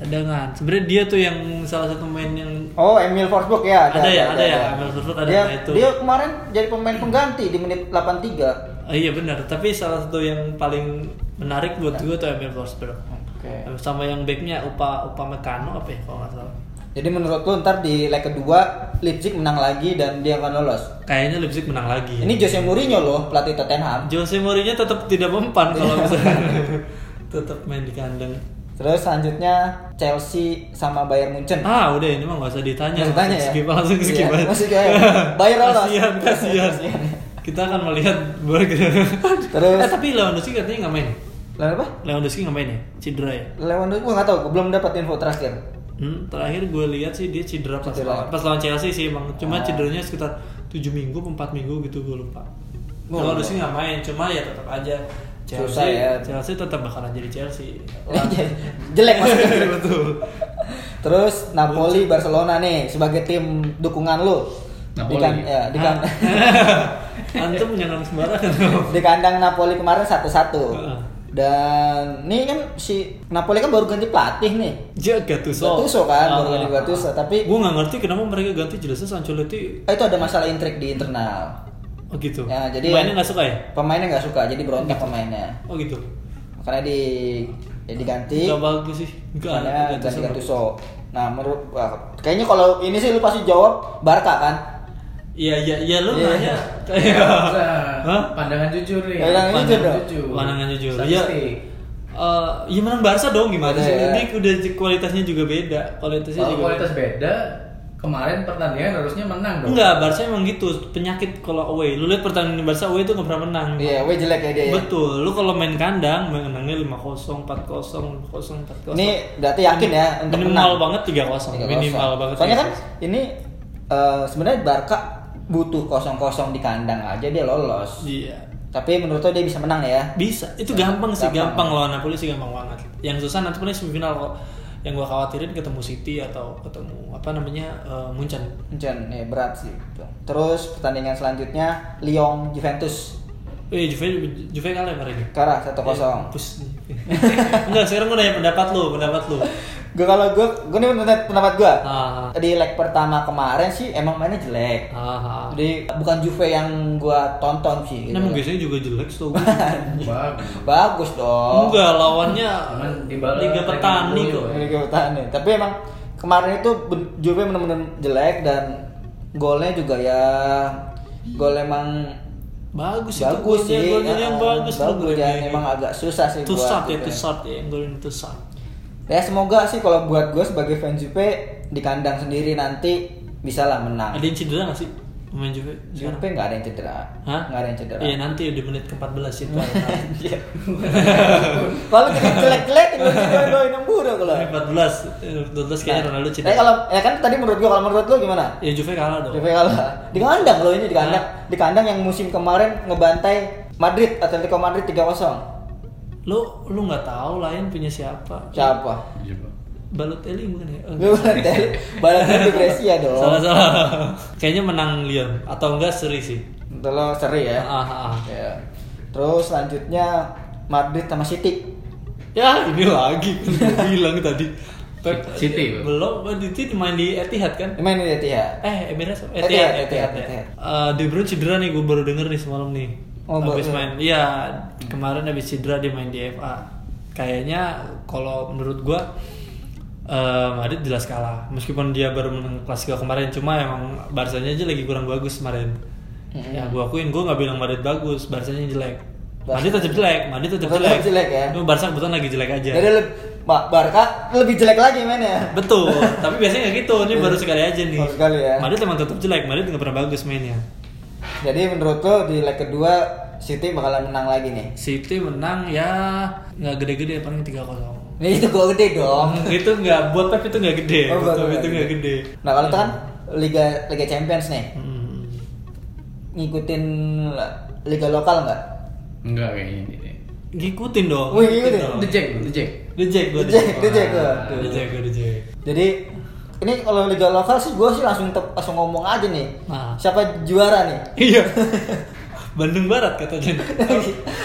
Cadangan. Sebenarnya dia tuh yang salah satu pemain yang
Oh, Emil Forsberg ya.
Ada ya, ada ya, Emil Forsberg ada,
Dia,
ada itu.
dia kemarin jadi pemain pengganti di menit 83.
Ah, iya benar, tapi salah satu yang paling menarik buat gue tuh Emil Forsberg.
Oke.
Sama yang backnya Upa Upa Mekano apa ya kalau nggak salah.
Jadi menurut lu ntar di leg kedua Leipzig menang lagi dan dia akan lolos.
Kayaknya Leipzig menang lagi.
Ini Jose Mourinho loh, pelatih Tottenham.
Jose Mourinho tetap tidak mempan kalau
Iya.
misalnya tetap main di kandang.
Terus selanjutnya Chelsea sama Bayern Munchen.
Ah udah ini mah nggak usah ditanya.
Nggak usah
Langsung
tanya ya?
skip, langsung
Iya,
skip aja.
langsung skip aja. Bayar lolos. Iya,
Kasihan, kasihan.
Kasihan.
Kita akan melihat burger.
Terus-
eh, tapi Lewandowski katanya nggak main. ya?
Lalu apa?
Lewandowski nggak main ya? Cedera ya?
Lewandowski gua nggak tahu, gua belum dapat info terakhir.
Hmm, terakhir gue lihat sih dia cedera pas
Cedera. Ah.
lawan, pas lawan Chelsea sih emang cuma cederanya sekitar 7 minggu apa 4 minggu gitu gue lupa.
Oh.
Kalau Lewandowski nggak main cuma ya tetap aja Chelsea
Susah ya.
Chelsea tetap bakalan jadi Chelsea.
Jelek maksudnya.
Betul.
Terus Napoli Barcelona nih sebagai tim dukungan lu. Di,
Napoli.
kan- ya, di, kan-
Ah. Antum jangan sembarangan.
di kandang Napoli kemarin satu-satu.
Heeh.
Dan nih kan si Napoli kan baru ganti pelatih nih.
Dia Gattuso.
Gattuso kan, baru
Ah.
ganti Gattuso, tapi-
gua nggak ngerti kenapa mereka ganti jelasnya Sancholetti
Eh, Itu ada masalah intrik di internal.
oh gitu.
Ya, jadi
mainnya nggak suka ya?
Pemainnya nggak suka, jadi berontak pemainnya.
Oh gitu.
Makanya di ya diganti.
Gak bagus sih. Nggak,
Makanya ganti
Gattuso.
Gattuso. Nah, menurut wah, kayaknya kalau ini sih lu pasti jawab Barca kan?
Iya iya iya lu
Iya.
nanya kayak
Nah,
Hah?
pandangan jujur nih
Pandangan jujur dong.
Pandangan jujur. Iya.
Statistik.
Eh, ya menang Barca dong gimana sih?
Iya.
Ini udah kualitasnya juga beda. Kualitasnya
kalau
juga.
kualitas
beda.
beda kemarin pertandingan harusnya menang dong
Enggak, Barca emang gitu penyakit kalau away. Lu lihat pertandingan Barca away itu nggak pernah menang.
Iya, weh jelek ya dia. ya.
Betul. Lu kalau main kandang menangnya 5-0, 4-0, 5-0, 4-0.
Ini berarti yakin ya untuk
minimal
menang.
banget 3-0.
3-0.
Minimal banget. iya.
Soalnya kan
3-0.
ini eh, sebenarnya Barca butuh kosong-kosong di kandang aja dia lolos.
Iya.
Tapi menurut lo dia bisa menang ya.
Bisa. Itu gampang sih, gampang
Gampang.
lawan Napoli sih gampang banget. gitu. Yang susah nanti paling semifinal kok. Yang gua khawatirin ketemu City atau ketemu apa namanya? eh, Munchen.
Jen, ya berat sih. gitu. Terus pertandingan selanjutnya Lyon Juventus
Eh, Juve Juve kalah kemarin. ya?
Kara 1-0.
Eh, pus. Enggak, sekarang gua nanya pendapat lu, pendapat lu.
Gue kalau gue, gue nih pendapat, pendapat gue.
Iya. Ah.
Di leg pertama kemarin sih emang mainnya jelek.
Ah, ah.
Jadi bukan Juve yang gue tonton sih. gitu.
Ini emang biasanya juga jelek tuh.
bagus
Bagus dong.
Enggak, lawannya
Cuman dibalas
Liga
dengan
Petani
gol.
kok.
Ini gue bertahan nih. Tapi emang kemarin itu ben- Juve bener-bener jelek dan golnya juga ya gol emang
Bagus itu
bagus
golnya,
sih.
golnya
Ah,
yang bagus tuh
bagus
golnya.
dan emang agak susah sih
Too short ya,
Juve.
too short ya, yang golin too short.
Ya semoga sih kalau buat gue sebagai fans Juve di kandang sendiri nanti bisa lah menang.
Ada yang cedera nggak sih? pemain Juve
Juve nggak ada yang cedera
Hah?
nggak ada yang cedera
Iya nanti di menit ke-14 itu.
Anjir. Kalau kita jelek-jelek gue doain yang buruk kalau.
Menit 14, 12 kayaknya Ronaldo
Eh
cedera.
kalau ya kan tadi menurut gua kalau menurut lu gimana?
Ya Juve kalah dong.
Juve kalah. Di kandang loh ini di kandang. Di kandang yang musim kemarin ngebantai Madrid, Atletico Madrid 3-0.
Lu lu nggak tahu lain punya siapa?
Siapa?
Iya, Pak.
Balotelli bukan ya? Oh,
Lu Balotelli, Balotelli depresi ya
Salah
dong.
salah. Kayaknya menang Lyon atau enggak seri sih.
Itu lo seri ya.
Ah, ah, ah.
Ya. Terus selanjutnya Madrid sama City.
Ya ini lagi Gua bilang tadi. Pep-
City, Pak.
belum di City main di Etihad kan?
Main di Etihad.
Eh Emirates apa?
Etihad,
Etihad Etihad.
Etihad,
ya.
Etihad.
Eh, De Bruyne cedera nih gue baru denger nih semalam nih.
Oh, baru
habis
denger.
main. Iya, kemarin habis cedera dia main di FA. Kayaknya kalau menurut gue eh Madrid jelas kalah. Meskipun dia baru menang Klasiko kemarin, cuma emang Barsanya aja lagi kurang bagus kemarin.
Mm-mm.
Ya gue akuin gue nggak bilang Madrid bagus, Barsanya jelek.
Barca-
Madrid tetap jelek, Madrid tetap
Tetap
jelek.
jelek ya.
Cuma Barca kebetulan lagi jelek aja.
Jadi lebih Barca lebih jelek lagi mainnya.
Betul, tapi biasanya nggak gitu. Ini baru sekali aja nih.
Iya. Baru sekali ya.
Madrid emang tetap jelek, Madrid nggak pernah bagus mainnya.
Jadi menurut lo di leg kedua City bakalan menang lagi nih.
City menang ya nggak gede-gede paling 3-0.
Ini itu gol gede dong.
itu nggak buat Pep itu nggak gede,
Oh,
buat Pep
buat Pep
itu
nggak
nggak gede.
Nah kalau itu kan Liga Liga Champions nih,
Hmm.
ngikutin liga lokal nggak?
Enggak kayaknya ini.
Ngikutin dong.
Wih, ngikutin.
dong.
Dejek, dejek.
Dejek gue
Dejek, dejek
gue.
gua.
Dejek gue dejek.
Jadi ini kalau liga lokal sih gue sih langsung tep- langsung ngomong aja nih.
Nah.
Siapa juara nih?
Iya. Bandung Barat katanya.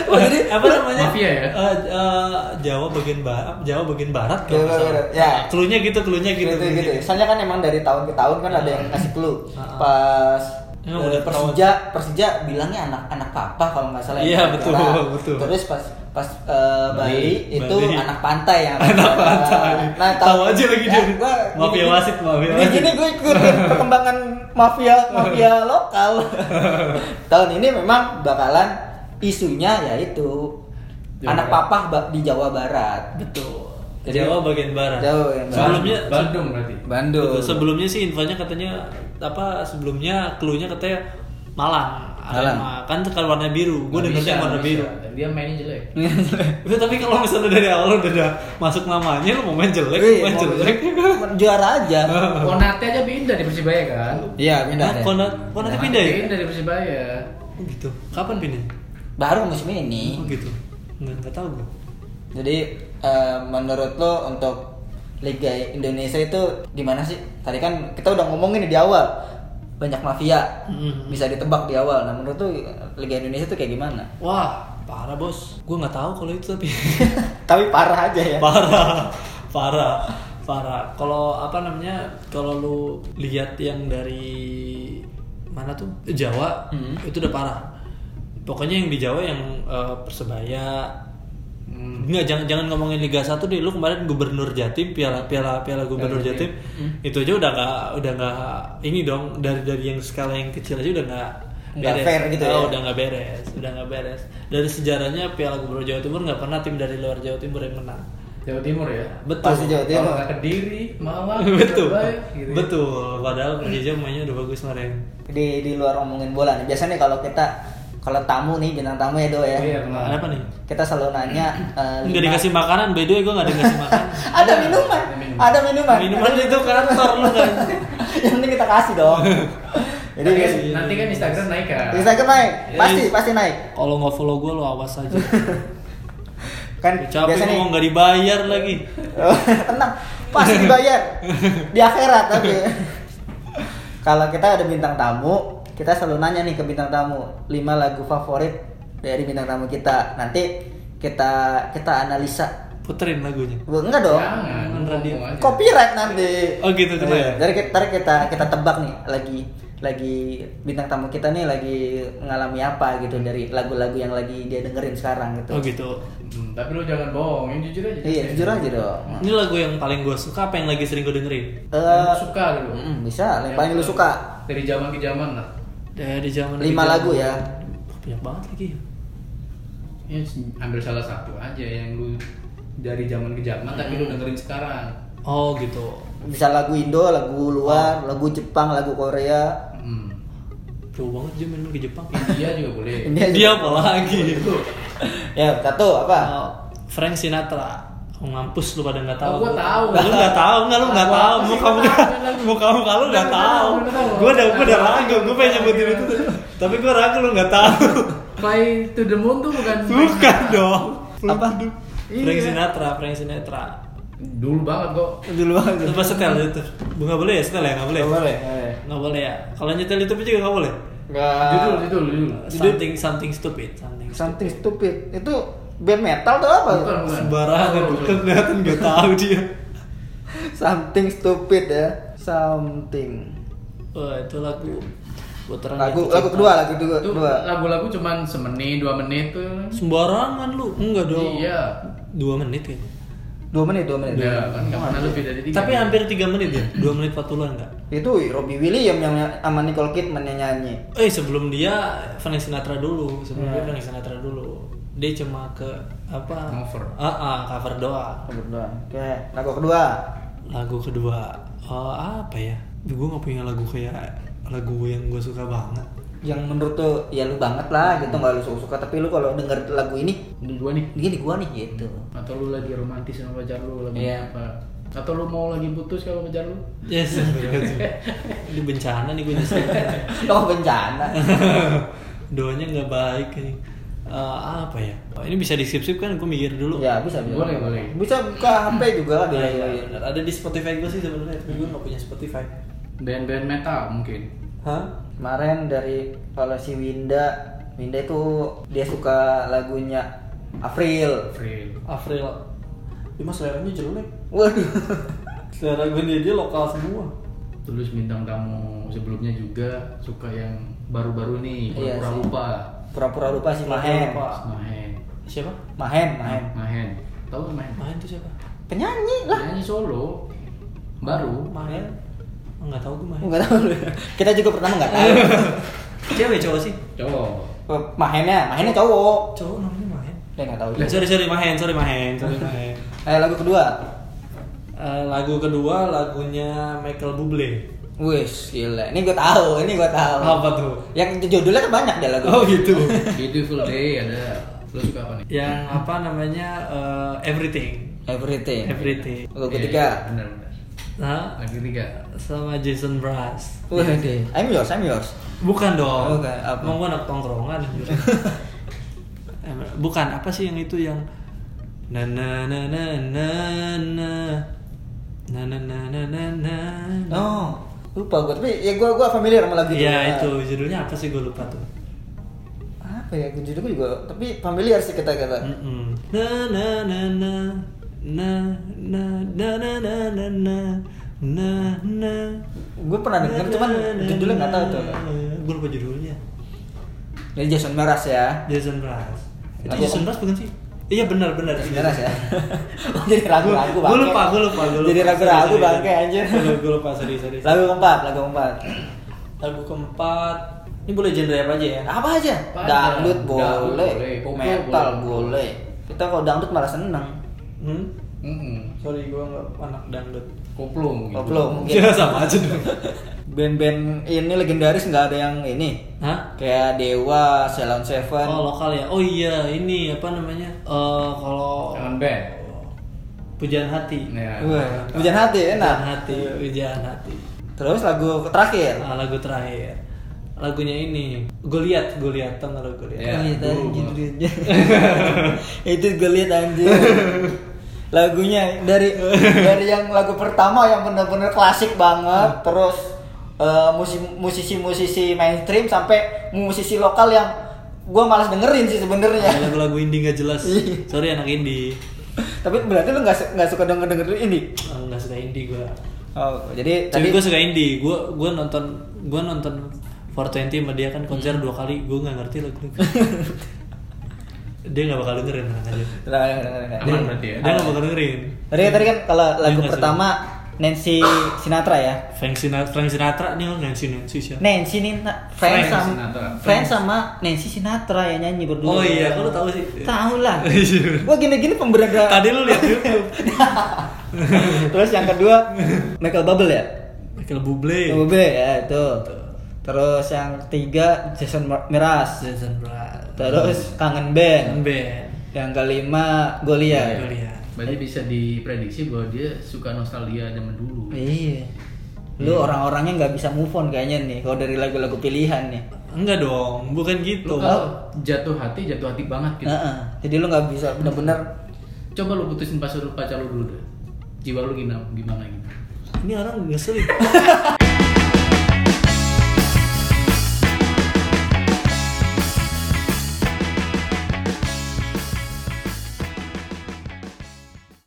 Oh, jadi-
apa namanya?
Mafia ya?
Eh, eh, Jawa bagian barat, Jawa bagian barat kalau
Jawa
nggak salah.
Barat, ya.
Cluenya gitu, cluenya gitu.
Gitu,
cluenya
gitu. Soalnya kan emang dari tahun ke tahun kan ada yang ngasih clue.
Ah.
Pas
Ya,
eh,
udah
Persija, Persija bilangnya anak-anak papa kalau nggak salah.
Iya,
yang
betul,
juara.
betul.
Terus pas pas eh, Bali,
Bali.
itu
Bali.
anak pantai yang Eh,
Anak
nah,
pantai. Tahu aja lagi dia.
gua
Mafia
gini-gini-
wasit, mafia
gini-gini
wasit.
gue ikutin perkembangan mafia mafia lokal. tahun ini memang bakalan isunya yaitu
Jawa
anak
Barat.
papa ba- di Jawa Barat.
Betul.
Jadi-
gitu. Jawa bagian barat.
Jawa bagian barat.
Sebelumnya
Bandung berarti.
Bandung.
sebelumnya sih infonya katanya apa sebelumnya cluenya katanya Malang.
Malang.
Arema. Kan kalau warna biru, gue
Nggak
dengernya
bisa,
warna
nggak
biru.
bisa. Dan dia mainnya jelek.
Iya.
Tapi- tapi kalau misalnya dari awal udah ada masuk namanya lu mau main jelek,
Wih,
main
Iya, mau
jelek.
juara aja.
Konate aja pindah dari Persibaya kan?
Iya, pindah
Nah,
deh.
Konat, Konatnya pindah ya?
Pindah dari Persibaya.
Oh gitu. Kapan pindah?
Baru musim ini.
Oh gitu. Nggak, nggak tahu gue.
Jadi eh, menurut lo untuk Liga Indonesia itu gimana sih? Tadi kan kita udah ngomongin di awal banyak mafia
Mm.
bisa ditebak di awal. Nah menurut lo Liga Indonesia itu kayak gimana?
Wah, parah bos. Gue nggak tahu kalau itu tapi
Tapi parah aja ya.
parah parah parah kalau apa namanya kalau lu lihat yang dari mana tuh Jawa
Hmm.
itu udah parah pokoknya yang di Jawa yang eh, persebaya
Hmm.
nggak jangan jangan ngomongin Liga 1 deh lu kemarin gubernur Jatim piala piala piala gubernur
Piala
Jatim
Jatim.
Hmm.
itu aja udah nggak udah nggak ini dong dari dari yang skala yang kecil aja udah nggak
Nggak fair gitu
Oh,
ya.
udah nggak beres udah nggak beres dari sejarahnya piala gubernur Jawa Timur nggak pernah tim dari luar Jawa Timur yang menang
Jawa Timur ya.
Betul.
Pasti Jawa
Kalau
Timur.
nggak Kediri, Malang,
betul.
Surabaya, gitu ya.
Betul. Padahal Persija mainnya udah bagus kemarin.
Di di luar ngomongin bola nih. Biasanya kalau kita kalau tamu nih bintang tamu ya do ya.
Iya, kenal.
Ada apa nih?
Kita selalu nanya. eh,
Enggak
lima-
dikasih makanan, by the way gue enggak dikasih makan.
Ada minuman. Ada minuman.
Minuman itu kantor lu kan.
yang penting kita kasih dong jadi
Nanti kan,
guys,
nanti kan Instagram naik kan.
Instagram naik
Yes.
pasti pasti naik
Kalau nggak follow gue lo awas aja.
kan
Udah Capek
biasanya
ngomong nggak dibayar lagi.
tenang pasti dibayar di akhirat tapi kalau kita ada bintang tamu kita selalu nanya nih ke bintang tamu lima lagu favorit dari bintang tamu kita nanti kita kita analisa
Puterin lagunya.
Bu, enggak dong
Jangan,
Jangan, radio.
ngomong aja.
copyright nanti. Iya,
Oh, gitu, kena ya?
Dari kita, ntar kita kita tebak nih lagi lagi bintang tamu kita nih lagi mengalami apa gitu dari lagu-lagu yang lagi dia dengerin sekarang gitu.
Oh gitu.
Hmm, tapi lu jangan bohong, yang jujur aja.
Iya jujur aja dong.
Ini lagu yang paling gue suka apa yang lagi sering gue dengerin?
Yang
Eh,
lu suka dulu.
mm, bisa. Yang paling lu suka
Dari zaman ke zaman lah.
Dari Eh, zaman
lima
dari zaman-
lagu ya.
Wah, Banyak banget lagi.
Ya, ambil salah satu aja yang lu dari zaman ke zaman tapi
Hmm.
lu dengerin sekarang.
Oh gitu. Oh.
Bisa lagu Indo, lagu luar, lagu Jepang, lagu Korea.
Hmm.
jauh banget dia main ke Jepang
India juga boleh
India
dia apa lagi
ya satu apa
Oh, Frank Sinatra Oh, ngampus lu pada nggak tahu.
Oh, gua tahu.
Lu nggak tahu nggak lu nggak
Tahu
tahu.
apa sih,
Mau kamu
gua tahu.
mau kamu kalau udah
Gua tahu,
tahu.
gua tahu.
Gua udah gua udah ragu. Gua pengen nyebutin itu. Tapi gua ragu lu nggak tahu.
Fly to the moon tuh bukan
Bukan dong.
Apa?
Frank
Iya.
Sinatra, Frank Sinatra.
dulu banget kok
dulu banget
Coba setel itu. Bu nggak boleh ya setel ya nggak boleh.
Gak boleh
Nggak boleh ya. Kalau nyetel itu juga nggak boleh.
judul
Gak
judul judul
Something something stupid. Something.
Something stupid Itu band metal tuh apa?
bukan bukan
Sembarangan.
Oh,
Bukan kelihatan nggak tahu dia.
Something stupid ya Something
Wah itu lagu. Putaran yang
Lagu
tercipta.
lagu kedua Lagu kedua-
itu
kedua
lagu-lagu cuman semenit dua menit tuh
Sembarangan lu. Enggak dong.
iya
Dua menit ya.
Dua menit Dua menit
Iya, kan nggak pernah lebih dari tiga
Tapi hampir tiga menit ya. Dua menit 40 enggak.
Itu Robbie Williams yang sama Nicole Kidman yang nyanyi
Eh sebelum dia Frank Sinatra dulu. Sebelum
Iya.
dia Frank Sinatra dulu. Dia cuma ke apa?
Cover.
Ah, ah, cover doang.
Lagu kedua Oke Lagu kedua
Lagu kedua eh, apa ya? Gue nggak punya lagu kayak lagu yang gue suka banget.
yang menurut tuh ya lu banget lah gitu nggak lu suka, suka tapi lu kalau denger lagu ini
Ini dua nih
ini di gua nih gitu
atau lu lagi romantis sama pacar lu lagi
Iya.
apa atau lu mau lagi putus kalau pacar lu
Yes. Ini bencana nih gue nyesel.
oh bencana
Doanya nggak baik nih. Eh, apa ya? Oh, Ini bisa disip-sip kan? Gue mikir dulu.
Iya,
ya bisa bisa
Boleh, boleh.
bisa buka hp juga lah
Iya, iya,
dari
benar. Ada di Spotify gue sih sebenarnya, tapi gue gak punya Spotify.
band-band metal mungkin
Hah?
kemarin dari kalau si Winda Winda itu dia suka lagunya April
Free
April. Ya mas seleranya jelek.
waduh
Selera gue dia, dia lokal semua.
tulus bintang tamu sebelumnya juga suka yang baru-baru nih Nah,
Iya
pura-pura
sih.
lupa
pura-pura lupa si
Pura-pura
Mahen
lupa.
Mahen
Siapa?
Mahen Mahen
Mahen tahu Mahen
Mahen tuh siapa?
penyanyi lah
nyanyi solo baru
Mahen? Enggak tahu gue Mahen.
nggak tahu lu. kita juga pertama nggak tahu
Cewek ya, cowok sih?
cowok
Mahennya Mahennya cowok
Cowok namanya Mahen.
dia nggak tahu
Eh,
juga
sorry sorry Mahen, sorry Mahen, sorry Mahen.
eh lagu kedua
Eh, lagu kedua lagunya Michael Bublé.
Wes gila, ini gue tahu, ini gue tahu.
Apa tuh?
Yang judulnya kan banyak deh lagu.
Oh gitu.
beautiful day ada lo suka apa nih
Yang apa namanya eh, Everything.
Everything.
Everything.
Iya,
Lagu
iya,
ketiga.
benar benar
Nah,
lagi tiga
sama Jason Mraz.
Wih,
iya.
I'm yours, I'm yours.
Bukan dong.
Oh, Bukan, apa?
Emang gua anak tongkrongan. Em, Bukan apa sih yang itu yang na na na na na na na na na na na na.
Oh, lupa gue, tapi ya gue gue familiar sama lagu itu.
Iya itu judulnya apa sih gue lupa tuh.
Apa ya judul gue juga, tapi familiar sih kita kata.
Mm-mm. Na na na na na na na na na na na na na.
Gue pernah denger, cuman judulnya nggak tahu tuh.
Gue lupa judulnya.
Ini Jason Mraz ya.
Jason Mraz. Itu
Lagu-
Jason Mraz bukan sih? Iya benar benar.
Jason Mraz ya. Oh, Jadi ragu-ragu
Gue
bangke.
lupa, gue lupa, gue lupa.
Jadi ragu-ragu bangke anjir.
Gue lupa, sorry, sorry.
Lagu keempat, lagu keempat.
Lagu keempat. Ini boleh genre apa aja ya?
Apa aja?
Apa aja?
Dangdut
Dangdut
boleh,
boleh, pop
metal
boleh.
boleh. Kita kalau dangdut malah seneng.
Hmm?
Mm-mm.
Sorry, gue nggak anak dangdut.
koplo mungkin
Koplo
Ya
Oh, mungkin.
sama aja dong.
Band-band ini legendaris nggak ada yang ini.
Hah?
Kayak Dewa, Ceylon Seven.
Oh lokal ya? Oh iya, ini apa namanya? Eh kalau
jangan band
pujaan hati.
Ya.
Wah, Hujan hati
Pujaan
Iya. enak.
hati, pujaan hati.
Terus lagu terakhir.
Nah, lagu terakhir. Lagunya ini. Goliat, Goliat, tau nggak lo Goliat?
Ya,
Goliat
dulu
anjing,
banget.
duitnya. Iya, Itu gue liat anjir. Lagunya dari dari yang lagu pertama yang bener-bener klasik banget, terus eh, musi- musisi-musisi mainstream sampai musisi lokal yang gua malas dengerin sih
Ada
sebenarnya.
lagu-lagu indie nggak jelas.
Iya.
Sorry anak indie.
Tapi berarti lu nggak su- nggak suka denger dengerin ini?
Eh, nggak suka indie gue.
Oh, jadi
Tapi
tadi
gue suka indie. Gue gue nonton gue nonton 420 sama dia kan
Hmm.
konser dua kali. Gue nggak ngerti lagu. dia nggak bakal dengerin tenang aja.
Nah, nah, nah, nah, nah.
Aman
Jadi-
berarti ya?
Dia nggak bakal dengerin.
iya. Tadi, tadi kan kalau lagu
nggak
pertama Nancy Sinatra ya.
Frank Sinatra, Frank Sinatra nih orang Nancy Nancy siapa?
Nancy Nina,
Frank
Frank sama
Sinatra.
Frank sama Nancy Sinatra yang nyanyi berdua.
Oh iya, kok lu tahu sih?
Tahu lah.
Iya.
Gua gini-gini pemberada.
Nah, Tadi lu lihat YouTube.
Terus yang kedua Michael Bubble ya.
Michael Bublé.
Michael Bubble ya itu. Terus yang ketiga Jason Mar- Mraz.
Jason Brad
Terus Kangen Band.
Ben
Yang kelima
Iya,
Goliath.
Goliath
Berarti bisa diprediksi bahwa dia suka nostalgia zaman dulu.
Iya. Lu orang-orangnya nggak bisa move on kayaknya nih kalau dari lagu-lagu pilihan nih.
enggak dong bukan gitu
Lu kan- kalau jatuh hati, jatuh hati banget gitu.
Heeh. Jadi lu nggak bisa bener-bener
Coba lu putusin pacar lu pacar lu dulu deh. Jiwa lu gimana, gimana gitu.
ini orang ngeselin